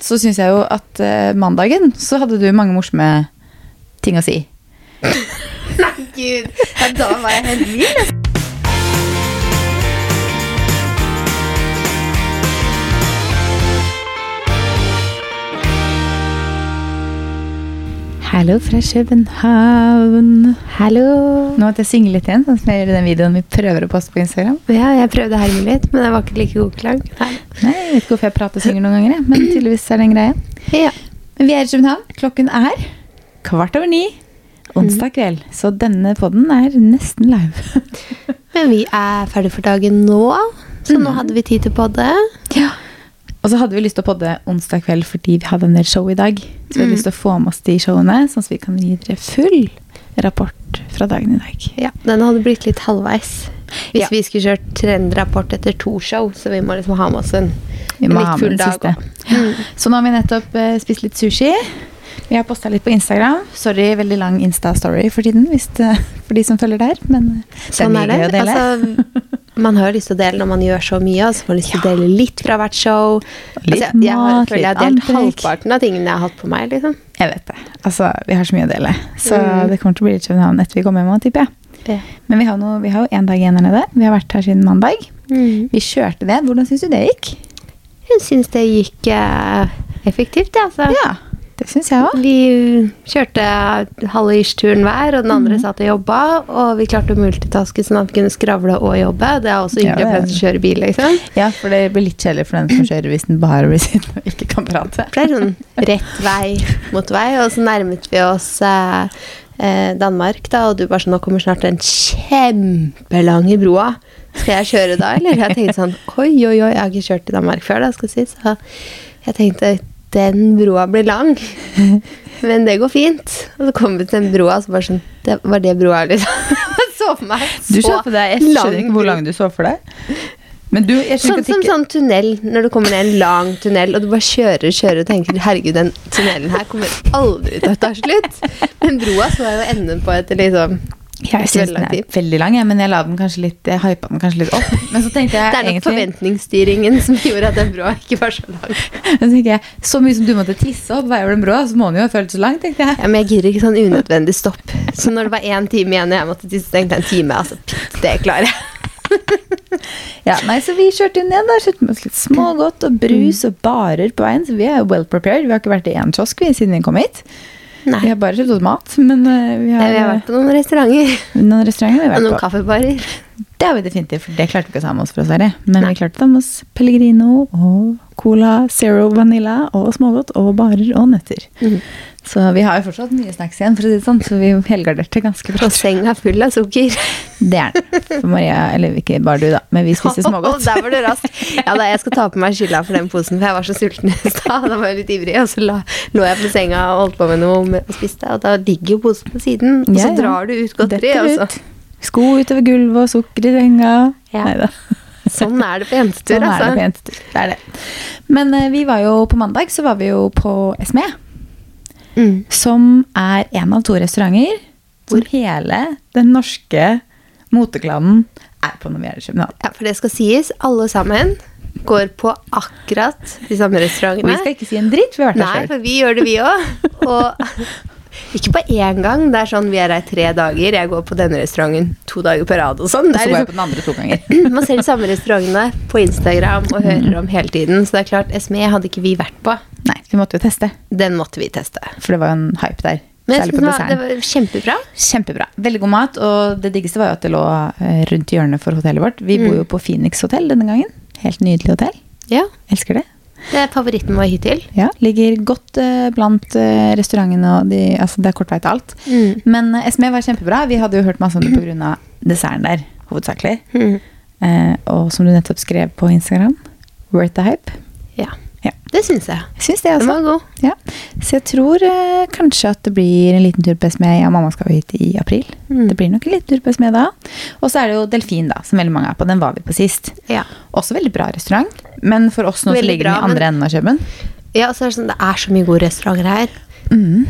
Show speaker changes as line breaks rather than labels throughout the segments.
så syns jeg jo at eh, mandagen så hadde du mange morsomme ting å si.
Nei, gud. Ja, da var jeg helt vill. ass.
Hallo fra København.
Hallo.
Nå at jeg synger litt igjen, sånn som jeg gjør i den videoen vi prøver å poste på Instagram.
Ja, jeg prøvde å herme litt, men jeg var ikke like god klang. Nei.
Nei, jeg vet ikke hvorfor jeg prater og synger noen ganger, jeg, men tydeligvis er det en greie.
Ja.
Men vi er i København. Klokken er kvart over ni onsdag kveld, så denne podden er nesten live.
Men vi er ferdig for dagen nå, så nå hadde vi tid til podde.
Ja. Og så hadde vi lyst til å podde onsdag kveld fordi vi hadde en del show i dag. Så vi
Mm.
hadde lyst til å få med oss de showene, sånn at vi kan gi dere full rapport fra dagen i dag.
Ja, Den hadde blitt litt halvveis. Hvis
Ja.
vi skulle kjørt trendrapport etter to show, så vi må liksom ha med oss en,
Vi
en
må
litt
ha med
full
den
dag.
siste.
også. Mm.
Så nå har vi nettopp eh, spist litt sushi. Vi har posta litt på Instagram. Sorry, veldig lang Insta-story for tiden hvis det, for de som følger der. Men eh,
Sånn
den
er det.
liker vi å dele.
Altså, man har jo lyst til å dele når man gjør så mye. Altså, man har lyst til å dele litt fra hvert show.
Litt
altså, jeg har,
mat,
føler jeg har
litt
delt
antrekk.
halvparten av tingene jeg har hatt på meg. Liksom.
Jeg vet det. Altså, vi har så mye å dele. Så
Mm.
det kommer til å bli litt København etter vi kommer hjem. også, tipper jeg. Men vi har, noe, vi har jo én dag igjen her nede. Vi har vært her siden mandag.
Mm.
Vi kjørte ned. Hvordan syns du det gikk?
Jeg syns det gikk eh, effektivt, jeg. Altså.
Ja, det syns jeg òg.
Vi eh, kjørte eh, halve ish-turen hver, og den
Mhm.
andre satt og jobba. Og vi klarte å multitaske sånn at vi kunne skravle og jobbe. Det er også
Ja,
hyggelig for
det er
den som kjører bil, liksom.
Ja, for det blir litt kjedelig for den som kjører hvis den bare blir sittende og ikke kan prate.
For Mm. det er sånn rett vei mot vei. Og så nærmet vi oss eh, eh, Danmark, da, og du bare sånn Nå kommer snart den kjempelange broa. Skal jeg kjøre da, eller? Jeg tenkte sånn Oi, oi, oi, jeg har ikke kjørt i Danmark før, da, skal jeg si. Så jeg tenkte den broa blir lang, men det går fint. Og så kom vi til den broa, så bare sånn Det var det broa, liksom. Jeg så for meg
Du så for deg, Jeg skjønner ikke hvor
bro.
lang du så for deg. Men du, jeg
Sånn
skjønner
som
ikke
sånn tunnel, når du kommer ned en lang tunnel, og du bare kjører kjører og tenker herregud, den tunnelen her kommer aldri til å ta slutt. Men broa så jeg jo enden på etter liksom
Jeg syns den er veldig lang, jeg, men jeg la den kanskje litt Jeg hypa den kanskje litt opp. Men så tenkte
Det
jeg
er nok
egentlig
forventningsstyringen som gjorde at den broa ikke var så lang.
så, tenkte jeg, så mye som du måtte tisse opp hver over den broa, så må den jo ha føltes så lang, tenkte jeg.
Ja, men jeg gidder ikke sånn unødvendig stopp. Så når det var én time igjen og jeg måtte tisse, tenkte jeg en time, altså pytt, det klarer jeg.
Ja, nei, Så vi kjørte jo ned, da. Kjørte med oss litt smågodt og brus
Mm.
og barer på veien. Så vi er jo well prepared. Vi har ikke vært i én kiosk vi, siden vi kom hit.
Nei.
Vi har bare kjøpt oss mat, men eh, vi
Nei,
har, eh,
vi har vært på noen restauranter
noen restauranter vi
og
har vært
noen
på.
kaffebarer.
Det har vi definitivt, for det klarte vi ikke å ta med oss fra Sverige. Men
Nei.
vi klarte å ta med oss Pellegrino og Cola Zero Vanilla og smågodt og barer og nøtter.
Mm.
Så vi har jo fortsatt mye snacks igjen, for å si det sånn, så vi helgarderte ganske bra.
Og senga er full av sukker.
Det er den. For Maria, eller ikke bare du, da, men vi spiste smågodt.
Der var du rask. Ja, da, jeg skal ta på meg skylda for den posen, for jeg var så sulten i stad. Da var jeg litt ivrig, og så la, lå jeg på senga og holdt på med noe med- og spiste, og da ligger jo posen på siden, og
Ja,
så
ja.
drar du ut godteri,
Detter
og så
ut. Sko utover gulvet og sukker i senga.
Ja.
Neida.
Sånn er det på
Sånn er
jentetur,
det på
altså.
jentetur. Det er det. Men eh, vi var jo på mandag, så var vi jo på SME.
Mm.
som er en av to restauranter hvor hele den norske moteklanen er på når vi er i København.
Ja, for det skal sies, alle sammen går på akkurat de
Og
samme
vi
restaurantene.
skal ikke si en dritt, vi har vært
Nei,
der sjøl.
for vi gjør det, vi òg. Og ikke på én gang. Det er sånn vi er her tre dager, jeg går på denne restauranten to dager på rad og sånn.
Og
Det
så
er
var
liksom
jeg på den andre to ganger.
Man ser de samme restaurantene på Instagram og hører om hele tiden. Så det er klart, SME hadde ikke vi vært på.
Nei, vi måtte jo teste,
Den måtte vi teste.
for det var jo en hype der.
Men jeg
Særlig på
synes det
desserten.
var, det var kjempebra.
Kjempebra. Veldig god mat, og det diggeste var jo at det lå eh, rundt hjørnet for hotellet vårt. Vi
Mm.
bor jo på Phoenix hotell denne gangen. Helt nydelig hotell.
Ja,
Elsker det.
Det er favoritten vår hittil.
Ja, ligger godt eh, blant eh, restaurantene, og de, altså det er kort vei til alt.
Mm.
Men eh, SME var kjempebra. Vi hadde jo hørt masse om det pga. desserten der, hovedsakelig.
Mm.
Eh, og som du nettopp skrev på Instagram, worth the hype.
Ja.
Ja.
Det syns jeg.
Jeg syns det,
Den
altså.
var god.
Ja. Så jeg tror eh, kanskje at det blir en liten tur på SME. Jeg og mamma skal jo hit i april.
Mm.
Det blir nok en liten tur på SME da. Og så er det jo Delfin, da, som veldig mange er på. Den var vi på sist.
Ja.
Også veldig bra restaurant. Men for oss nå så
Veldig
ligger den
bra,
i andre enden av Køben.
ja, og så er det sånn, det er så mye gode restauranter her,
Mm.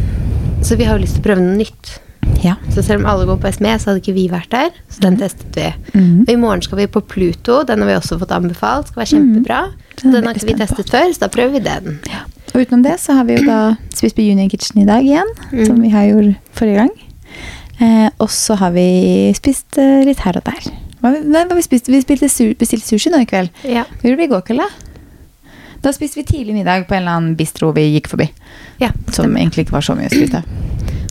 så vi har jo lyst til å prøve noe nytt.
Ja.
Så selv om alle går på SME, så hadde ikke vi vært der. Så den testet vi. Og I morgen skal vi på Pluto. Den har vi også fått anbefalt. Skal være kjempebra.
Den er
Mm. Den har
jeg
ikke vi
spent på.
testet før, så da prøver vi den.
Ja. Og Og utenom det så har vi jo da spist på Union Kitchen i dag igjen,
Mm.
som vi har gjort forrige gang. Eh, og så har vi spist eh, litt her og der. Hva, vi- nei, hva vi, spiste? vi spilte su bestilte sushi nå i kveld.
Ja.
Hva gjorde vi i går kveld, da? Da spiste vi tidlig middag på en eller annen bistro vi gikk forbi.
ja.
Som egentlig ikke var så mye å skryte av.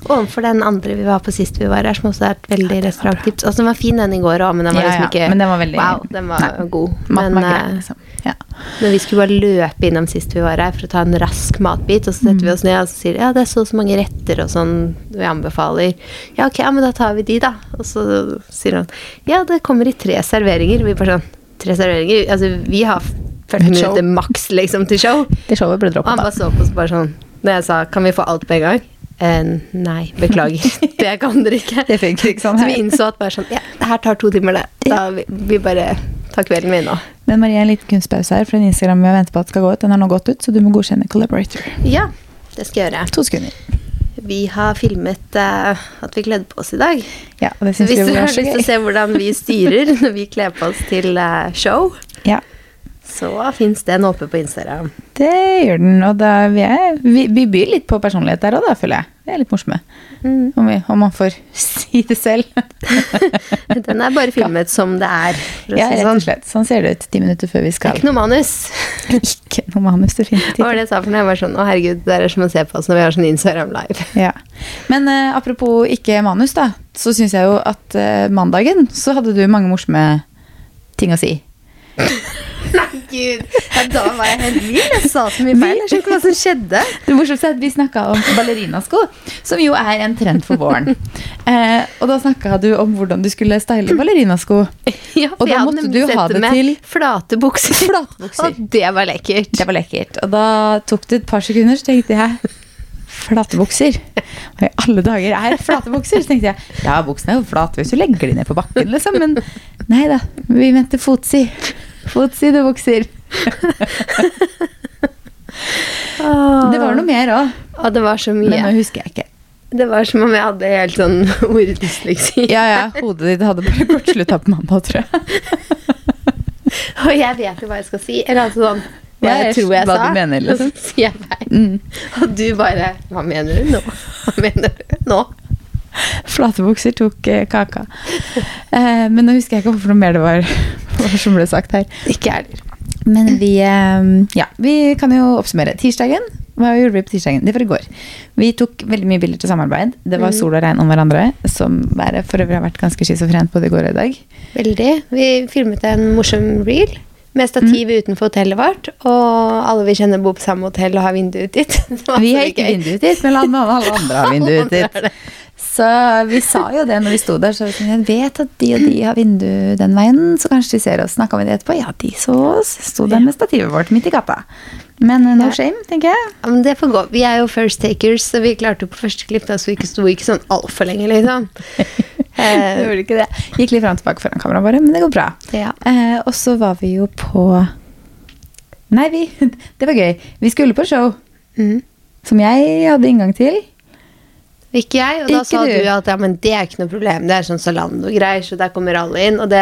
Overfor den andre vi var på sist vi var her, som også er et veldig restauranttips. Altså, den var fin den i går òg, men den var
Ja,
liksom
ja,
ikke
men den var veldig-
Wow, den var
Nei.
god.
Maten
Men,
var grei,
eh,
liksom. Ja.
Men vi skulle bare løpe innom sist vi var her for å ta en rask matbit, og
Mm.
så setter vi oss ned og så sier de, ja, det er så og så mange retter og sånn vi anbefaler. Ja, ok, ja, men da tar vi de, da. Og så sier han ja, det kommer i tre serveringer. Vi bare sånn Tre serveringer? Altså, vi har 40
Et show.
minutter maks liksom til show.
Det showet ble
Og han
droppa,
bare så på oss bare sånn Når jeg sa kan vi få alt på en gang? Eh, nei, beklager. Det kan dere ikke.
Det funker ikke sånn
Så vi
her.
innså at bare sånn Ja, det her tar to timer, det. Da vi, vi bare tar kvelden vi nå.
da. Men Marie, en liten kunstpause her, for den Instagram vi venter på at skal gå ut, den har nå gått ut, så du må godkjenne collaborator.
Ja, det skal jeg gjøre.
To sekunder.
Vi har filmet eh, at vi kledde på oss i dag.
Ja, og det
Så
syns
hvis
vi
du har
var så
lyst til å
gøy.
se hvordan vi styrer når vi kler på oss til eh, show,
Ja,
så fins den oppe på Instagram.
det gjør den, og da vi, er, vi, vi byr litt på personlighet der òg, da, føler jeg. Vi er litt morsomme. Om, vi, om man får si det selv.
Den er bare filmet som det er. For å
Ja,
si det
rett og
sånn.
slett. Sånn ser det ut ti minutter før vi
Det er
skal.
ikke noe manus.
Ikke noe manus, definitivt.
Hva var det jeg sa for noe? Jeg var sånn, å herregud, det er som å se på oss når vi har sånn Instagram live.
Ja. Men eh, apropos ikke manus, da, så syns jeg jo at eh, mandagen så hadde du mange morsomme ting å si.
Nei, gud. Ja, da var jeg helt vill. Jeg sa så mye feil. Jeg skjønner ikke hva som skjedde.
Det morsomste er at vi snakka om ballerinasko, som jo er en trend for våren. eh, og da snakka du om hvordan du skulle style ballerinasko.
Ja, for
Og da
jeg hadde
måtte
nemlig
du
sett
ha det
med
til-
flate bukser.
Flate bukser.
Og det var lekkert.
Det var lekkert. Og da tok det et par sekunder, så tenkte jeg Flate bukser? Hva i alle dager er flate bukser? Så tenkte jeg ja, buksene er jo flate hvis du legger de ned på bakken, liksom. Men nei da, vi mente fotsi. Fotsidebukser. Det var noe mer òg,
Å, Ah. det var så
men nå
mye.
husker jeg ikke.
Det var som om jeg hadde helt sånn orddysleksi.
Ja, ja, Hodet ditt hadde bare kortslutta på mandag, tror jeg.
Og jeg vet jo hva jeg skal si. Eller altså sånn hva
Ja,
jeg
jeg
tror jeg
hva
sa.
du mener, liksom.
Og så sier jeg feil.
Mm.
Og du bare Hva mener du nå? Hva mener du nå?
Flate bukser tok eh, kaka. Eh, men nå husker jeg ikke hvorfor noe mer det var var som ble sagt her.
Ikke jeg heller.
Men vi, eh, ja, vi kan jo oppsummere. Tirsdagen, hva gjorde vi på tirsdagen? Det var i går. Vi tok veldig mye bilder til samarbeid. Det
Mm.
var sol og regn om hverandre, som været for øvrig har vært ganske schizofrent både i går og i dag.
Veldig. Vi filmet en morsom reel. Med stativ
Mm.
utenfor hotellet vårt, og alle vi kjenner bor på samme hotell og har vinduet ditt. Det var
Vi
så
har ikke
gøy.
vinduet dit, men alle alle andre har vinduet
Alle
dit.
har det.
Så vi sa jo det når vi sto der, så vi sa, jeg vet at de og de har vindu den veien, så kanskje de ser oss. Snakka vi det etterpå? Ja, de så oss. Sto der med stativet vårt midt i gata. Men eh, no
Ja.
shame, tenker jeg.
Ja, men det får gå. Vi er jo first takers, så vi klarte jo på første klipp. Da, så vi ikke sto ikke sånn altfor lenge, liksom.
Jeg
Eh,
gjorde ikke det. Gikk litt fram og tilbake foran kameraet bare, men det går bra.
Ja.
Eh, og så var vi jo på Nei, vi, det var gøy. Vi skulle på show
mm.
som jeg hadde inngang til.
Ikke jeg, og da
Ikke
sa
du.
du. at ja, men det er ikke noe problem. Det er sånn Zalando-greier, så der kommer alle inn. Og det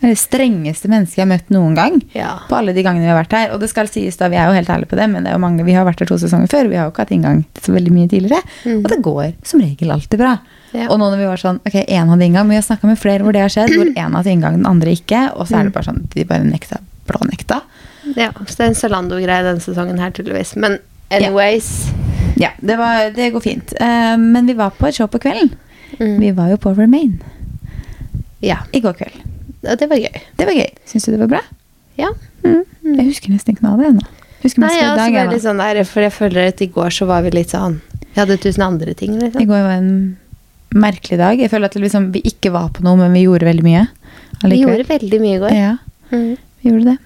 Det er det strengeste mennesket jeg har møtt noen gang.
Ja.
På alle de gangene vi har vært her. Og det skal sies da, vi er jo helt ærlige på det, men det er jo mange, vi har vært her to sesonger før. Vi har jo ikke hatt inngang til så veldig mye tidligere. Og det går som regel alltid bra.
Mm. Ja.
Og nå når vi var sånn, ok, én hadde inngang, men vi har snakka med flere hvor det har skjedd, hvor én hadde inngang, den andre ikke. Og så er
Mm.
det bare sånn, de bare nekta, blå nekta.
ja, så det er en Zalando-greie denne sesongen her, tydeligvis. Men anyways
Ja, det, var, det går fint. Eh, men vi var på et show på kvelden.
Mm.
Vi var jo på Remain
Ja.
i går kveld.
Og det var gøy.
Det var gøy. Syns du det var bra?
Ja.
Mm. Jeg husker nesten ikke noe av det ennå. Husker
Nei,
mest fra i
jeg er også
dag.
veldig
jeg,
sånn der, for jeg føler at i går så var vi litt sånn Vi hadde tusen andre ting,
da. I
liksom.
går var en merkelig dag. Jeg føler at det liksom, vi ikke var på noe, men vi gjorde veldig mye.
Vi gjorde veldig mye i går.
Ja,
Mm.
vi gjorde det.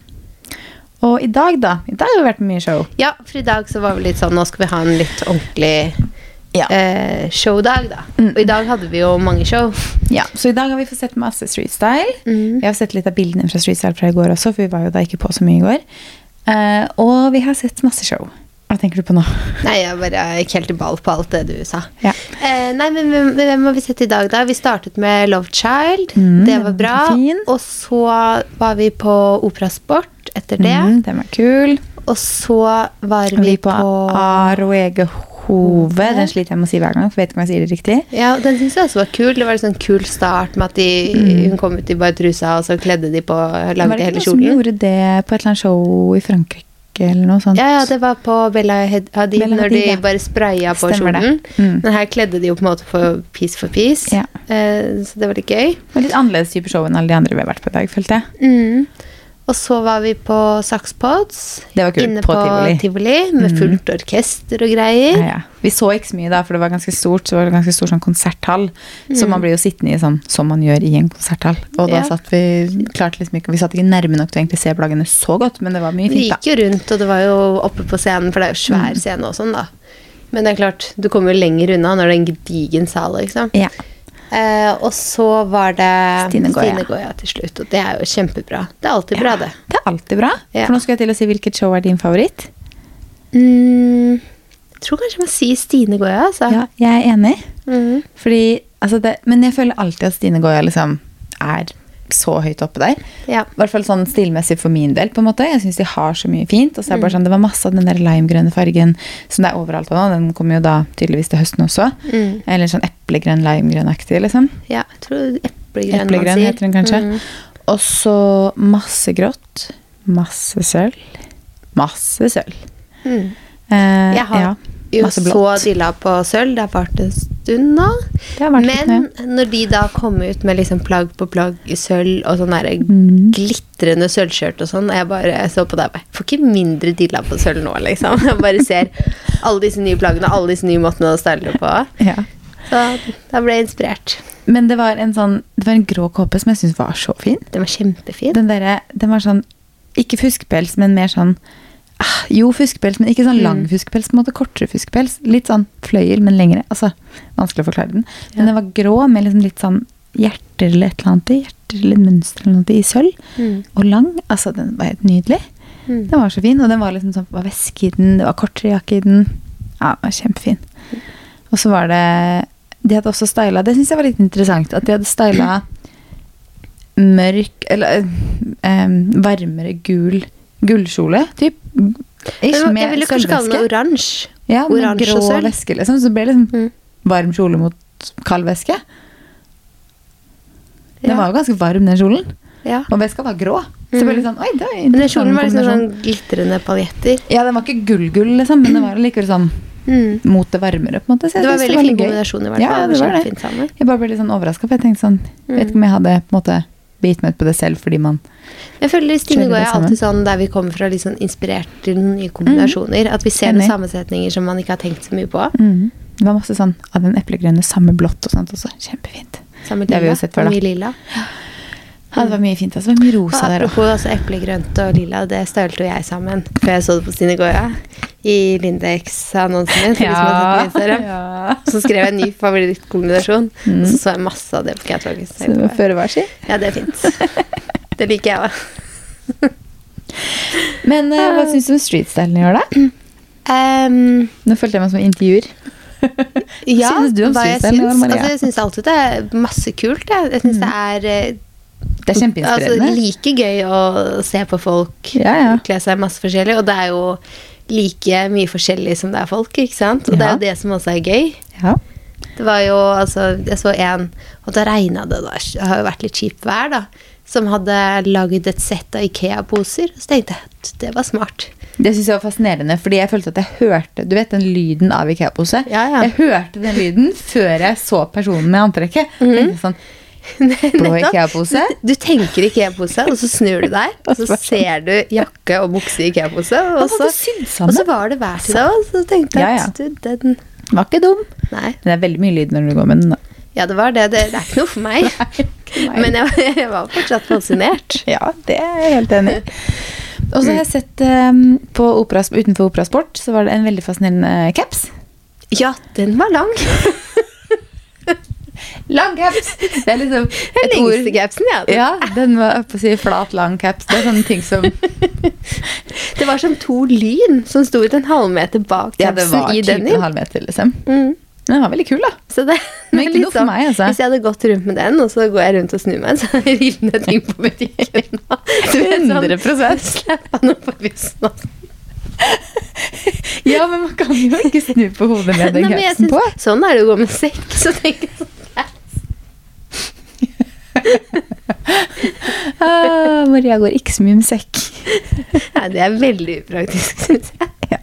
Og i dag, da. I dag har det vært mye show.
Ja, for i dag så var vi litt sånn Nå skal vi ha en litt ordentlig
Ja. Mm.
eh, showdag, da. Og i dag hadde vi jo mange show.
Ja, Så i dag har vi fått sett masse Street Style.
Mm.
Vi har sett litt av bildene fra Street Style fra i går også, for vi var jo da ikke på så mye i går. Eh, og vi har sett masse show. Hva tenker du på nå?
Nei, jeg bare gikk helt i ball på alt det du sa.
Ja.
Eh, nei, men hvem, hvem har vi sett i dag, da? Vi startet med Love Child.
Mm,
det
den var
var bra.
fin.
Og så var vi på Operasport etter det.
Mm, den var kul.
Og så var
Mm. Vi
vi
på
på
Aroegehove. Den sliter jeg med å si hver gang, for jeg vet ikke om jeg sier det riktig.
Ja, Den syns jeg også var kul. Det var en sånn kul start med at de, hun kom ut i bare trusa, og så kledde de på
Mm. Var
lagde
det ikke
hele
noen som
kjolen.
gjorde det på et eller annet show i Frankrike eller noe sånt?
Ja, ja, det var på Bella Hadid,
Bella
når de
Hadid, ja.
bare spraya på
Stemmer det.
kjolen.
Mm.
Men her kledde de jo på en måte for piece for piece,
Ja.
eh, så det var litt gøy.
Det var litt annerledes type show enn alle de andre vi har vært på i dag, følte jeg.
Mm. Og så var vi på Saxpods,
Det var kult,
inne
på
på,
Tivoli. Mm.
Tivoli. med fullt orkester og
Ja,
greier.
ja. Vi så ikke så mye da, for det var ganske stort, så var det ganske stor sånn konserthall. Så man blir jo sittende i sånn, som man gjør i en konserthall. Og da
Mm. Ja.
satt vi klarte liksom ikke, vi satt ikke nærme nok til å egentlig se plaggene så godt, men det var mye
Vi
fint da. Mm.
gikk jo rundt, og det var jo oppe på scenen, for det er jo svær scene og sånn, da. Men det er klart, du kommer jo lenger unna når det er en gedigen sal, liksom.
Ja.
Eh, og så var det
Stine Goya.
til slutt, og det er jo kjempebra. Det er alltid bra, det.
Det er alltid bra.
Ja.
For nå skal jeg til å si hvilket show er din favoritt.
Mm, jeg tror kanskje jeg må si Stine Goya, altså.
Ja, jeg er enig.
Mhm.
Fordi, altså det, men jeg føler alltid at Stine Goya liksom er så høyt oppe der.
Ja.
I hvert fall sånn stilmessig for min del. på en måte. Jeg syns de har så mye fint. og så er Det
Mm.
bare sånn, det var masse av den der limegrønne fargen som det er overalt nå. Den kommer jo da tydeligvis til høsten også.
Mm.
Eller sånn eplegrønn, limegrønn-aktig. liksom.
ja, jeg tror eplegrønn, man
Eplegrønn
sier.
heter den kanskje.
Mhm.
Og så masse grått. Masse sølv. Masse sølv.
Mm.
Eh,
Jeg har
ja,
jo
masse
så dilla på sølv, det har vært en stund nå.
Det har vært litt
Men
nøye.
når de da kom ut med liksom plagg på plagg i sølv og sånn derre
Mm.
glitrende sølvskjørt og sånn, og jeg bare jeg så på deg og bare Får ikke mindre dilla på sølv nå, liksom. Jeg bare ser alle disse nye plaggene, alle disse nye måtene å style det på.
Ja.
Så da ble jeg inspirert.
Men det var en sånn, det var en grå kåpe som jeg syns var så fin.
Den var kjempefin.
Den, derre- den var sånn Ikke fuskepels, men mer sånn ah, Jo, fuskepels, men ikke sånn
Mm.
lang fuskepels. på en måte Kortere fuskepels. Litt sånn fløyel, men lengre. Altså, Vanskelig å forklare den. Men
Ja.
den var grå med liksom litt sånn hjerter eller et eller annet i. Hjerter eller et mønster eller noe i sølv.
Mm.
Og lang. Altså, den var helt nydelig.
Mm.
Den var så fin. Og den var liksom sånn, det var væske i den, det var kortere jakke i den. Ja, den var kjempefin. Og så var det De hadde også styla Det syns jeg var litt interessant. At de hadde styla mørk Eller eh, varmere gul gullkjole, typ.
Men
Ikke
Jeg
med
ville kanskje kalle
sølvvæske.
den oransje.
Ja, med
oransje
grå
og sølv.
væske, liksom. Så det ble liksom
Mm.
varm kjole mot kald væske. Den
Ja.
var jo ganske varm, den kjolen.
Ja.
Og veska var grå. Så det ble litt sånn, oi, det var en
Men den kjolen
interessant
var liksom
kombinasjon.
sånn glitrende paljetter.
Ja, den var ikke gull-gull, liksom, men den var likevel sånn
Mm.
mot det varmere. på en måte. Så jeg
Det var
synes
veldig fine
gøy.
kombinasjoner, i hvert
Ja,
fall.
det var det.
Kjempefint sammen.
Jeg bare ble litt sånn overraska, for jeg tenkte sånn Vet ikke om jeg hadde på en måte bitt meg ut på det selv fordi man
Jeg føler Stine
Kjører
Gaaa
det
er
sammen. Mm.
alltid sånn der vi kommer fra, litt sånn inspirert til nye kombinasjoner. At vi ser
Enig.
noen sammensetninger som man ikke har tenkt så mye på.
mm, Det var masse sånn av den eplegrønne, samme blått og sånt også. Kjempefint.
Samme
Det har vi jo
lilla,
sett før, da.
Mye lilla.
Ja, det var mye fint. Altså. Det var mye
Og
rosa der òg.
apropos altså, eplegrønt og lilla, det stølte jo jeg sammen før jeg så det på Stine Gaaa i Lindex-annonsen min. for de som har sett på Instagram.
ja.
Så skrev jeg en ny favorittkombinasjon,
Mm.
og så så jeg masse av det på Catwalk. Så
Så
jeg
det var
bare,
føre var, si.
Ja, det er fint. Det liker jeg òg.
Men eh,
Ah.
hva syns du om streetstylen i år, da?
Um,
Nå følte jeg meg som en intervjuer. Hva
Ja,
synes du om
hva jeg
systemet,
syns?
Maria? Mm.
Altså, jeg syns alltid det er masse kult. Jeg, jeg syns det er eh,
Det er kjempeinspirerende.
Altså, like gøy å se på folk
Ja, ja.
kle seg masse forskjellig, og det er jo like mye forskjellig som det er folk, ikke sant? Og det er
Ja.
jo det som også er gøy.
ja.
Det var jo, altså, jeg så en, og da regna det, da. det har jo vært litt kjipt vær, da. Som hadde lagd et sett av Ikea-poser. Så tenkte jeg at det var smart.
Det synes jeg var fascinerende, fordi jeg følte at jeg hørte Du vet den lyden av Ikea-pose?
Ja, ja.
Jeg hørte den lyden før jeg så personen med antrekket.
Mhm.
Tenkte Sånn, Blå
Nettopp.
Ikea-pose?
Du tenker Ikea-pose, og så snur du deg, og så ser du jakke og bukse i Ikea-pose, og,
Altså,
så-
du sydd sammen.
og så var det hver til deg, og så tenkte jeg
Ja, ja.
at du, den
Var ikke dum.
Nei.
Men det er veldig mye lyd når du går med den. da.
Ja, det var det. Det, det er ikke noe for meg. Men jeg, jeg var fortsatt fascinert.
Ja, det er jeg helt enig i. Og så har jeg sett um, på opera, utenfor Operasport så var det en veldig fascinerende caps.
Ja, den var lang.
Lang caps! Det er liksom
Den
et
lengste
ord
capsen, ja. Den-
Ja, den var oppe å si flat, lang caps. Det er sånne ting som
Det var som to lyn som sto ut en halvmeter bak
Ja, det
capsen
var
i
typen
den.
en halv meter, liksom.
Mm.
Men den var veldig kul, da.
Så det,
Men
det er
ikke noe for meg, altså.
Hvis jeg hadde gått rundt med den, og så går jeg rundt og snur meg, så har jeg revet ned ting på butikken. nå. Du vet, sånn,
100
Slapp av nå på bussen. altså.
Ja, men man kan jo ikke snu på hodet med den
Nei, men jeg
grensen på.
syns- Sånn er det å gå med sekk. Så tenker jeg sånn
Ah, Maria går ikke så mye med sekk.
Nei, det er veldig upraktisk, syns jeg.
Ja.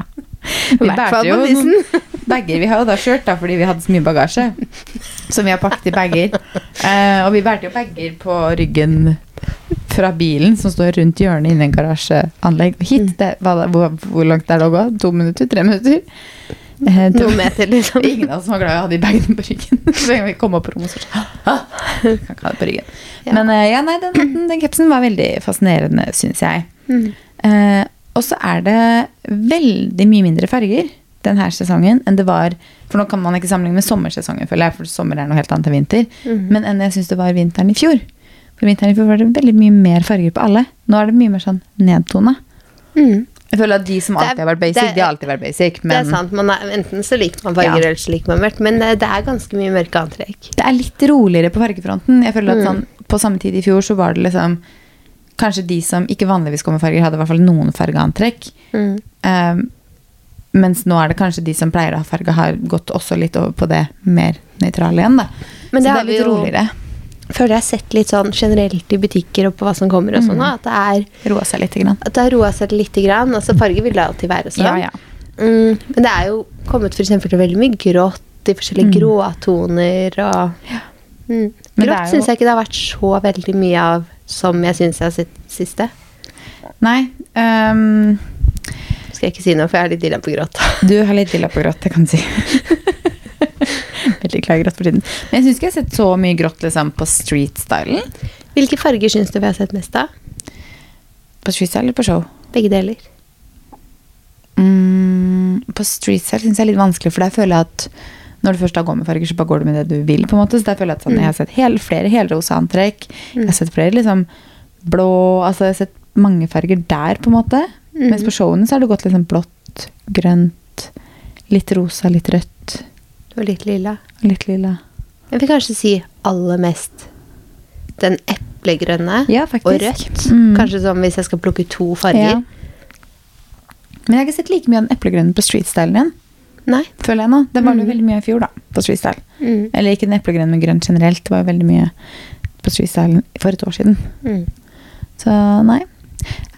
I hvert fall på
noen
bussen.
bager. Vi har jo da kjørt da, fordi vi hadde så mye bagasje som vi har pakket i bager. Eh, og vi bærte jo bager på ryggen fra bilen som står rundt hjørnet innen en garasjeanlegg. Og hit, det, hva, da- hvor, hvor langt er det å gå? To minutter? Tre minutter? Eh, det
Noen
var
meter, liksom.
ingen av oss som var glad i å ha de bagene på ryggen. Så vi kom opp på rommet og så «Ah, Kan ikke ha det på ryggen.
Ja.
Men eh, ja, nei, den, hatten, den kapsen var veldig fascinerende, syns jeg.
Mm.
Eh, og så er det veldig mye mindre farger denne sesongen enn det var For nå kan man ikke sammenligne med sommersesongen, føler jeg, for sommer er noe helt annet enn vinter.
Mhm.
Men enn jeg syns det var vinteren i fjor. For vinteren i fjor var det veldig mye mer farger på alle. Nå er det mye mer sånn nedtona.
Mm.
Jeg føler at de som
Det er-
alltid har vært basic,
det er-
de har alltid vært basic. Men
Det er sant. Man er, enten så liker man farger,
Ja.
eller så liker man mørkt. Men eh, det, det er ganske mye mørke antrekk.
det er litt roligere på fargefronten. Jeg føler at
Mm.
sånn, På samme tid i fjor så var det liksom Kanskje de som ikke vanligvis går med farger, hadde i hvert fall noen fargeantrekk.
Mm.
Um, mens nå er det kanskje de som pleier å ha farge, har gått også litt over på det mer nøytrale igjen. Da.
Men
så
det
det
har
er
vi
litt
jo-
roligere.
Føler jeg har sett litt sånn generelt i butikker og på hva som kommer og sånn,
Mm.
at det er
Roa seg litt. Grann.
at det har roa seg litt. Grann. Altså, farger vil det alltid være sånn.
Ja, ja.
Mm, men det er jo kommet for eksempel til veldig mye grått i forskjellige
Mm.
gråtoner og mm.
Men det er
Grått
jo-
syns jeg ikke det har vært så veldig mye av som jeg syns jeg har sett siste.
Nei, um,
Skal jeg ikke si noe, for jeg er litt dilla på grått.
du har litt dilla på grått, det kan du si. Veldig glad i grått for tiden. Men jeg syns ikke jeg har sett så mye grått liksom, på street-stylen.
Hvilke farger syns du vi har sett mest av?
På street-style eller på show?
Begge deler.
Mm, på street-style syns jeg er litt vanskelig, for der føler jeg at når du først da går med farger, så bare går du med det du vil. på en måte, så der føler Jeg at sånn, jeg har sett hel, flere helrosa antrekk. Jeg har sett flere liksom blå altså Jeg har sett mange farger der, på en måte.
Mhm.
Mens på showene så har det gått liksom blått, grønt, litt rosa, litt rødt,
Og litt lilla.
og litt lilla.
Jeg vil kanskje si aller mest den eplegrønne
Ja, faktisk.
og rødt.
Mm.
Kanskje som hvis jeg skal plukke to farger.
Ja. Men jeg har ikke sett like mye av den eplegrønne på streetstylen igjen.
Nei.
føler jeg nå. Den var det jo
Mhm.
veldig mye av i fjor, da. på streetstyle.
Mm.
Eller ikke den eplegrønne, men grønn generelt. Det var jo veldig mye på streetstylen for et år siden.
Mm.
Så nei.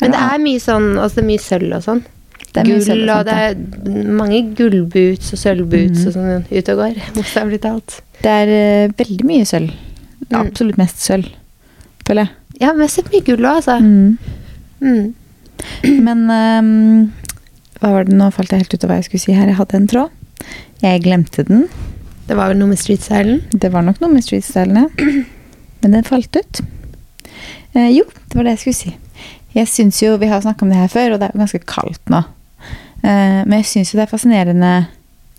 Men det er mye sånn, altså det er mye sølv og sånn.
Det er mye
Gull,
sølv og
og det er mange gullboots og sølvboots
Mhm.
og sånn ut og går. Bokstavelig talt.
Det er eh, veldig mye sølv. Det er
Mm.
Absolutt mest sølv, føler jeg.
Ja, men jeg har sett mye gull òg, altså.
Mm.
Mm.
Men ehm, hva var det nå falt jeg helt ut av hva jeg skulle si her. Jeg hadde en tråd. Jeg glemte den.
Det var vel noe med streetstylen.
Det var nok noe med streetstylene. Men den falt ut. Eh, jo, det var det jeg skulle si. Jeg synes jo, Vi har snakka om det her før, og det er jo ganske kaldt nå. Eh, men jeg syns jo det er fascinerende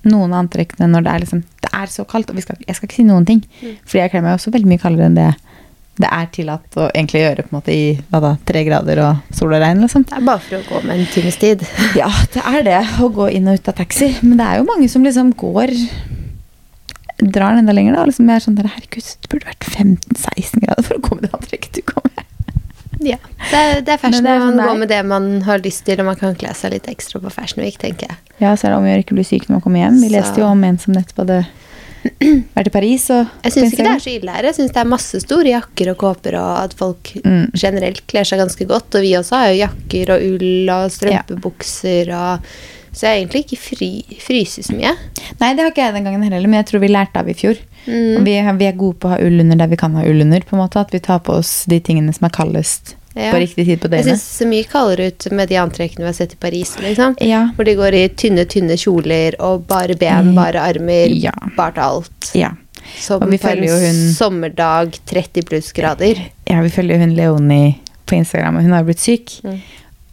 noen av antrekkene når det er liksom, det er så kaldt. Og vi skal, jeg skal ikke si noen ting,
Mm.
fordi jeg kler meg jo også veldig mye kaldere enn det det er tillatt å egentlig gjøre på en måte i hva da, tre grader og sol og regn. liksom.
Det er bare for å gå med en times tid.
Ja, det er det å gå inn og ut av taxi. Men det er jo mange som liksom går Drar den enda lenger, da. og Liksom jeg er sånn der, Herregud, det burde vært 15-16 grader for å komme det antrekket du kom med.
Ja. Det, er- det er fashion
Men det er
når
sånn
man
der.
går med det man har lyst til, og man kan kle seg litt ekstra på Fashion Week, tenker jeg.
Ja, så er det om å gjøre ikke bli syk når man kommer hjem. Vi
Så-
leste jo om en som nettopp hadde vært i Paris. Og
Jeg syns ikke det er så ille her. Jeg syns det er masse store jakker og kåper, og at folk
Mm.
generelt kler seg ganske godt. Og vi også har jo jakker og ull og strømpebukser og Så jeg har egentlig ikke fry, fryser så mye.
Nei, det har ikke jeg den gangen heller, men jeg tror vi lærte av i fjor.
Mm.
Og Vi, er- vi er gode på å ha ull under der vi kan ha ull under. på en måte, At vi tar på oss de tingene som er kaldest
Ja.
på riktig tid på
Jeg
døgnet.
syns det ser mye kaldere ut med de antrekkene vi har sett i Paris. liksom.
Ja.
Hvor de går i tynne, tynne kjoler og bare ben,
Mm.
bare armer,
Ja.
bare alt.
ja.
Som
Og vi
på en
følger jo hun-
sommerdag, 30 pluss grader.
Ja, vi følger jo hun Leonie på Instagram, og hun har jo blitt syk.
Mm.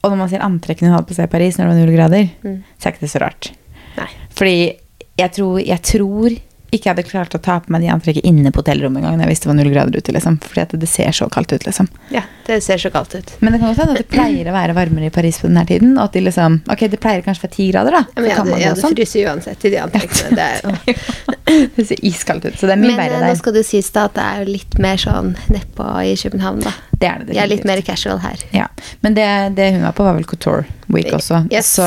Og når man ser antrekkene hun hadde på seg i Paris når det var null grader,
Mm.
så er ikke det så rart.
Nei.
Fordi jeg tror, jeg tror ikke hadde klart å ta på meg de antrekket inne på hotellrommet engang. når Jeg visste det var null grader ute, liksom. Fordi at det ser så kaldt ut, liksom.
Ja, det ser så kaldt ut.
Men det kan godt hende at det pleier å være varmere i Paris på denne tiden. Og at de liksom Ok, det pleier kanskje å være ti grader, da.
Ja, men
så
jeg
kan
hadde,
man
jeg
gå
hadde
sånn.
fryst uansett i de antrekkene. Det er jo
Det ser iskaldt ut, så det er mye
Men
verre
eh, nå
der.
skal det sies da at det er jo litt mer sånn nedpå i København, da.
Det er det
Jeg er litt
definitivt.
mer casual her.
Ja. Men det, det hun var på, var vel Couture Week også.
Yes.
Så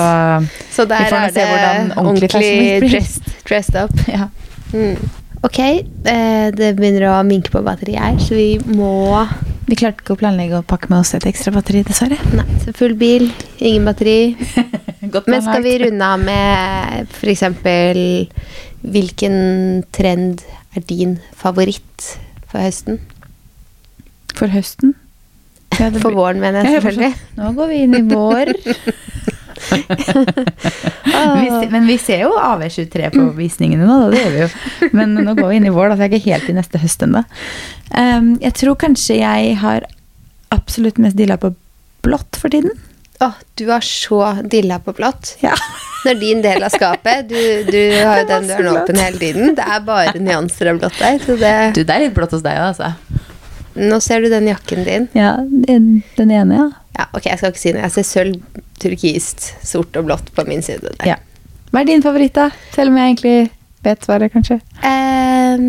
Så der
Vi får nå se
er det
hvordan ordentlig
ordentlig,
fashion week blir.
dressed, dressed up.
ja.
Mm. Ok, eh, det begynner å minke på batteriet her, så vi må
Vi klarte ikke å planlegge å pakke med oss et ekstra batteri, dessverre.
Nei, så full bil, ingen batteri.
Godt
Men skal vi
planlagt.
runde av med f.eks. hvilken trend er din favoritt for høsten?
For høsten? Ja, det
For
blir-
våren, mener jeg
Ja, jeg forstår.
selvfølgelig.
Nå går vi inn i vår. Vi se- men vi ser jo AV23 på visningene nå, da. Det gjør vi jo. Men nå går vi inn i vår, da, så jeg er ikke helt i neste høst ennå. Ehm, jeg tror kanskje jeg har absolutt mest dilla på blått for tiden.
Å, du har så dilla på blått.
Ja.
Når din del av skapet Du, du har jo
Det er
den
masse
døren åpen
blått.
hele tiden. Det er bare nyanser av blått der. Så det,
det er litt blått hos deg òg, altså.
nå ser du den jakken din.
Ja, den den ene, ja.
Ja, ok, jeg skal ikke si noe. Jeg ser sølv, turkist, sort og blått på min side. Der.
ja. Hva er din favoritt, da? Selv om jeg egentlig vet svaret, kanskje.
Eh,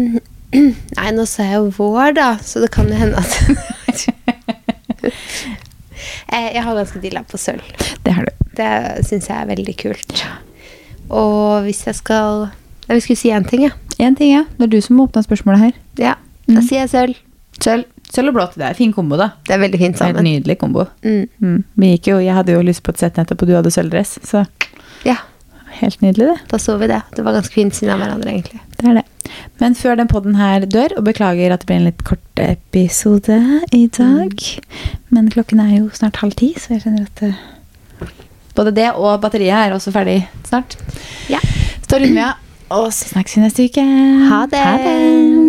nei, nå sa jeg jo vår, da, så det kan jo hende at Eh, Jeg har ganske dilla på sølv.
Det har du.
Det syns jeg er veldig kult. Og hvis jeg skal Nei, vi skulle si én ting, ja.
Én ting, ja. Det er du som åpna spørsmålet her.
ja. Da sier jeg sølv.
Mm. Sølv. Sølv og blått. Det er en fin kombo, da.
Det er veldig fint
Det er
sammen.
en nydelig kombo.
Mm.
Sånn. Mm. Vi gikk jo, jeg hadde jo lyst på et sett nettopp, og du hadde sølvdress. Så
Ja,
helt nydelig, det.
da så vi det. Det var ganske fint siden av hverandre, egentlig.
Det er det. Men før den podden her dør, og beklager at det blir en litt kort episode i dag, men klokken er jo snart halv ti, så jeg kjenner at eh, både det og batteriet er også ferdig snart.
Ja.
Så da runder vi av, og så snakkes vi neste uke.
Ha det.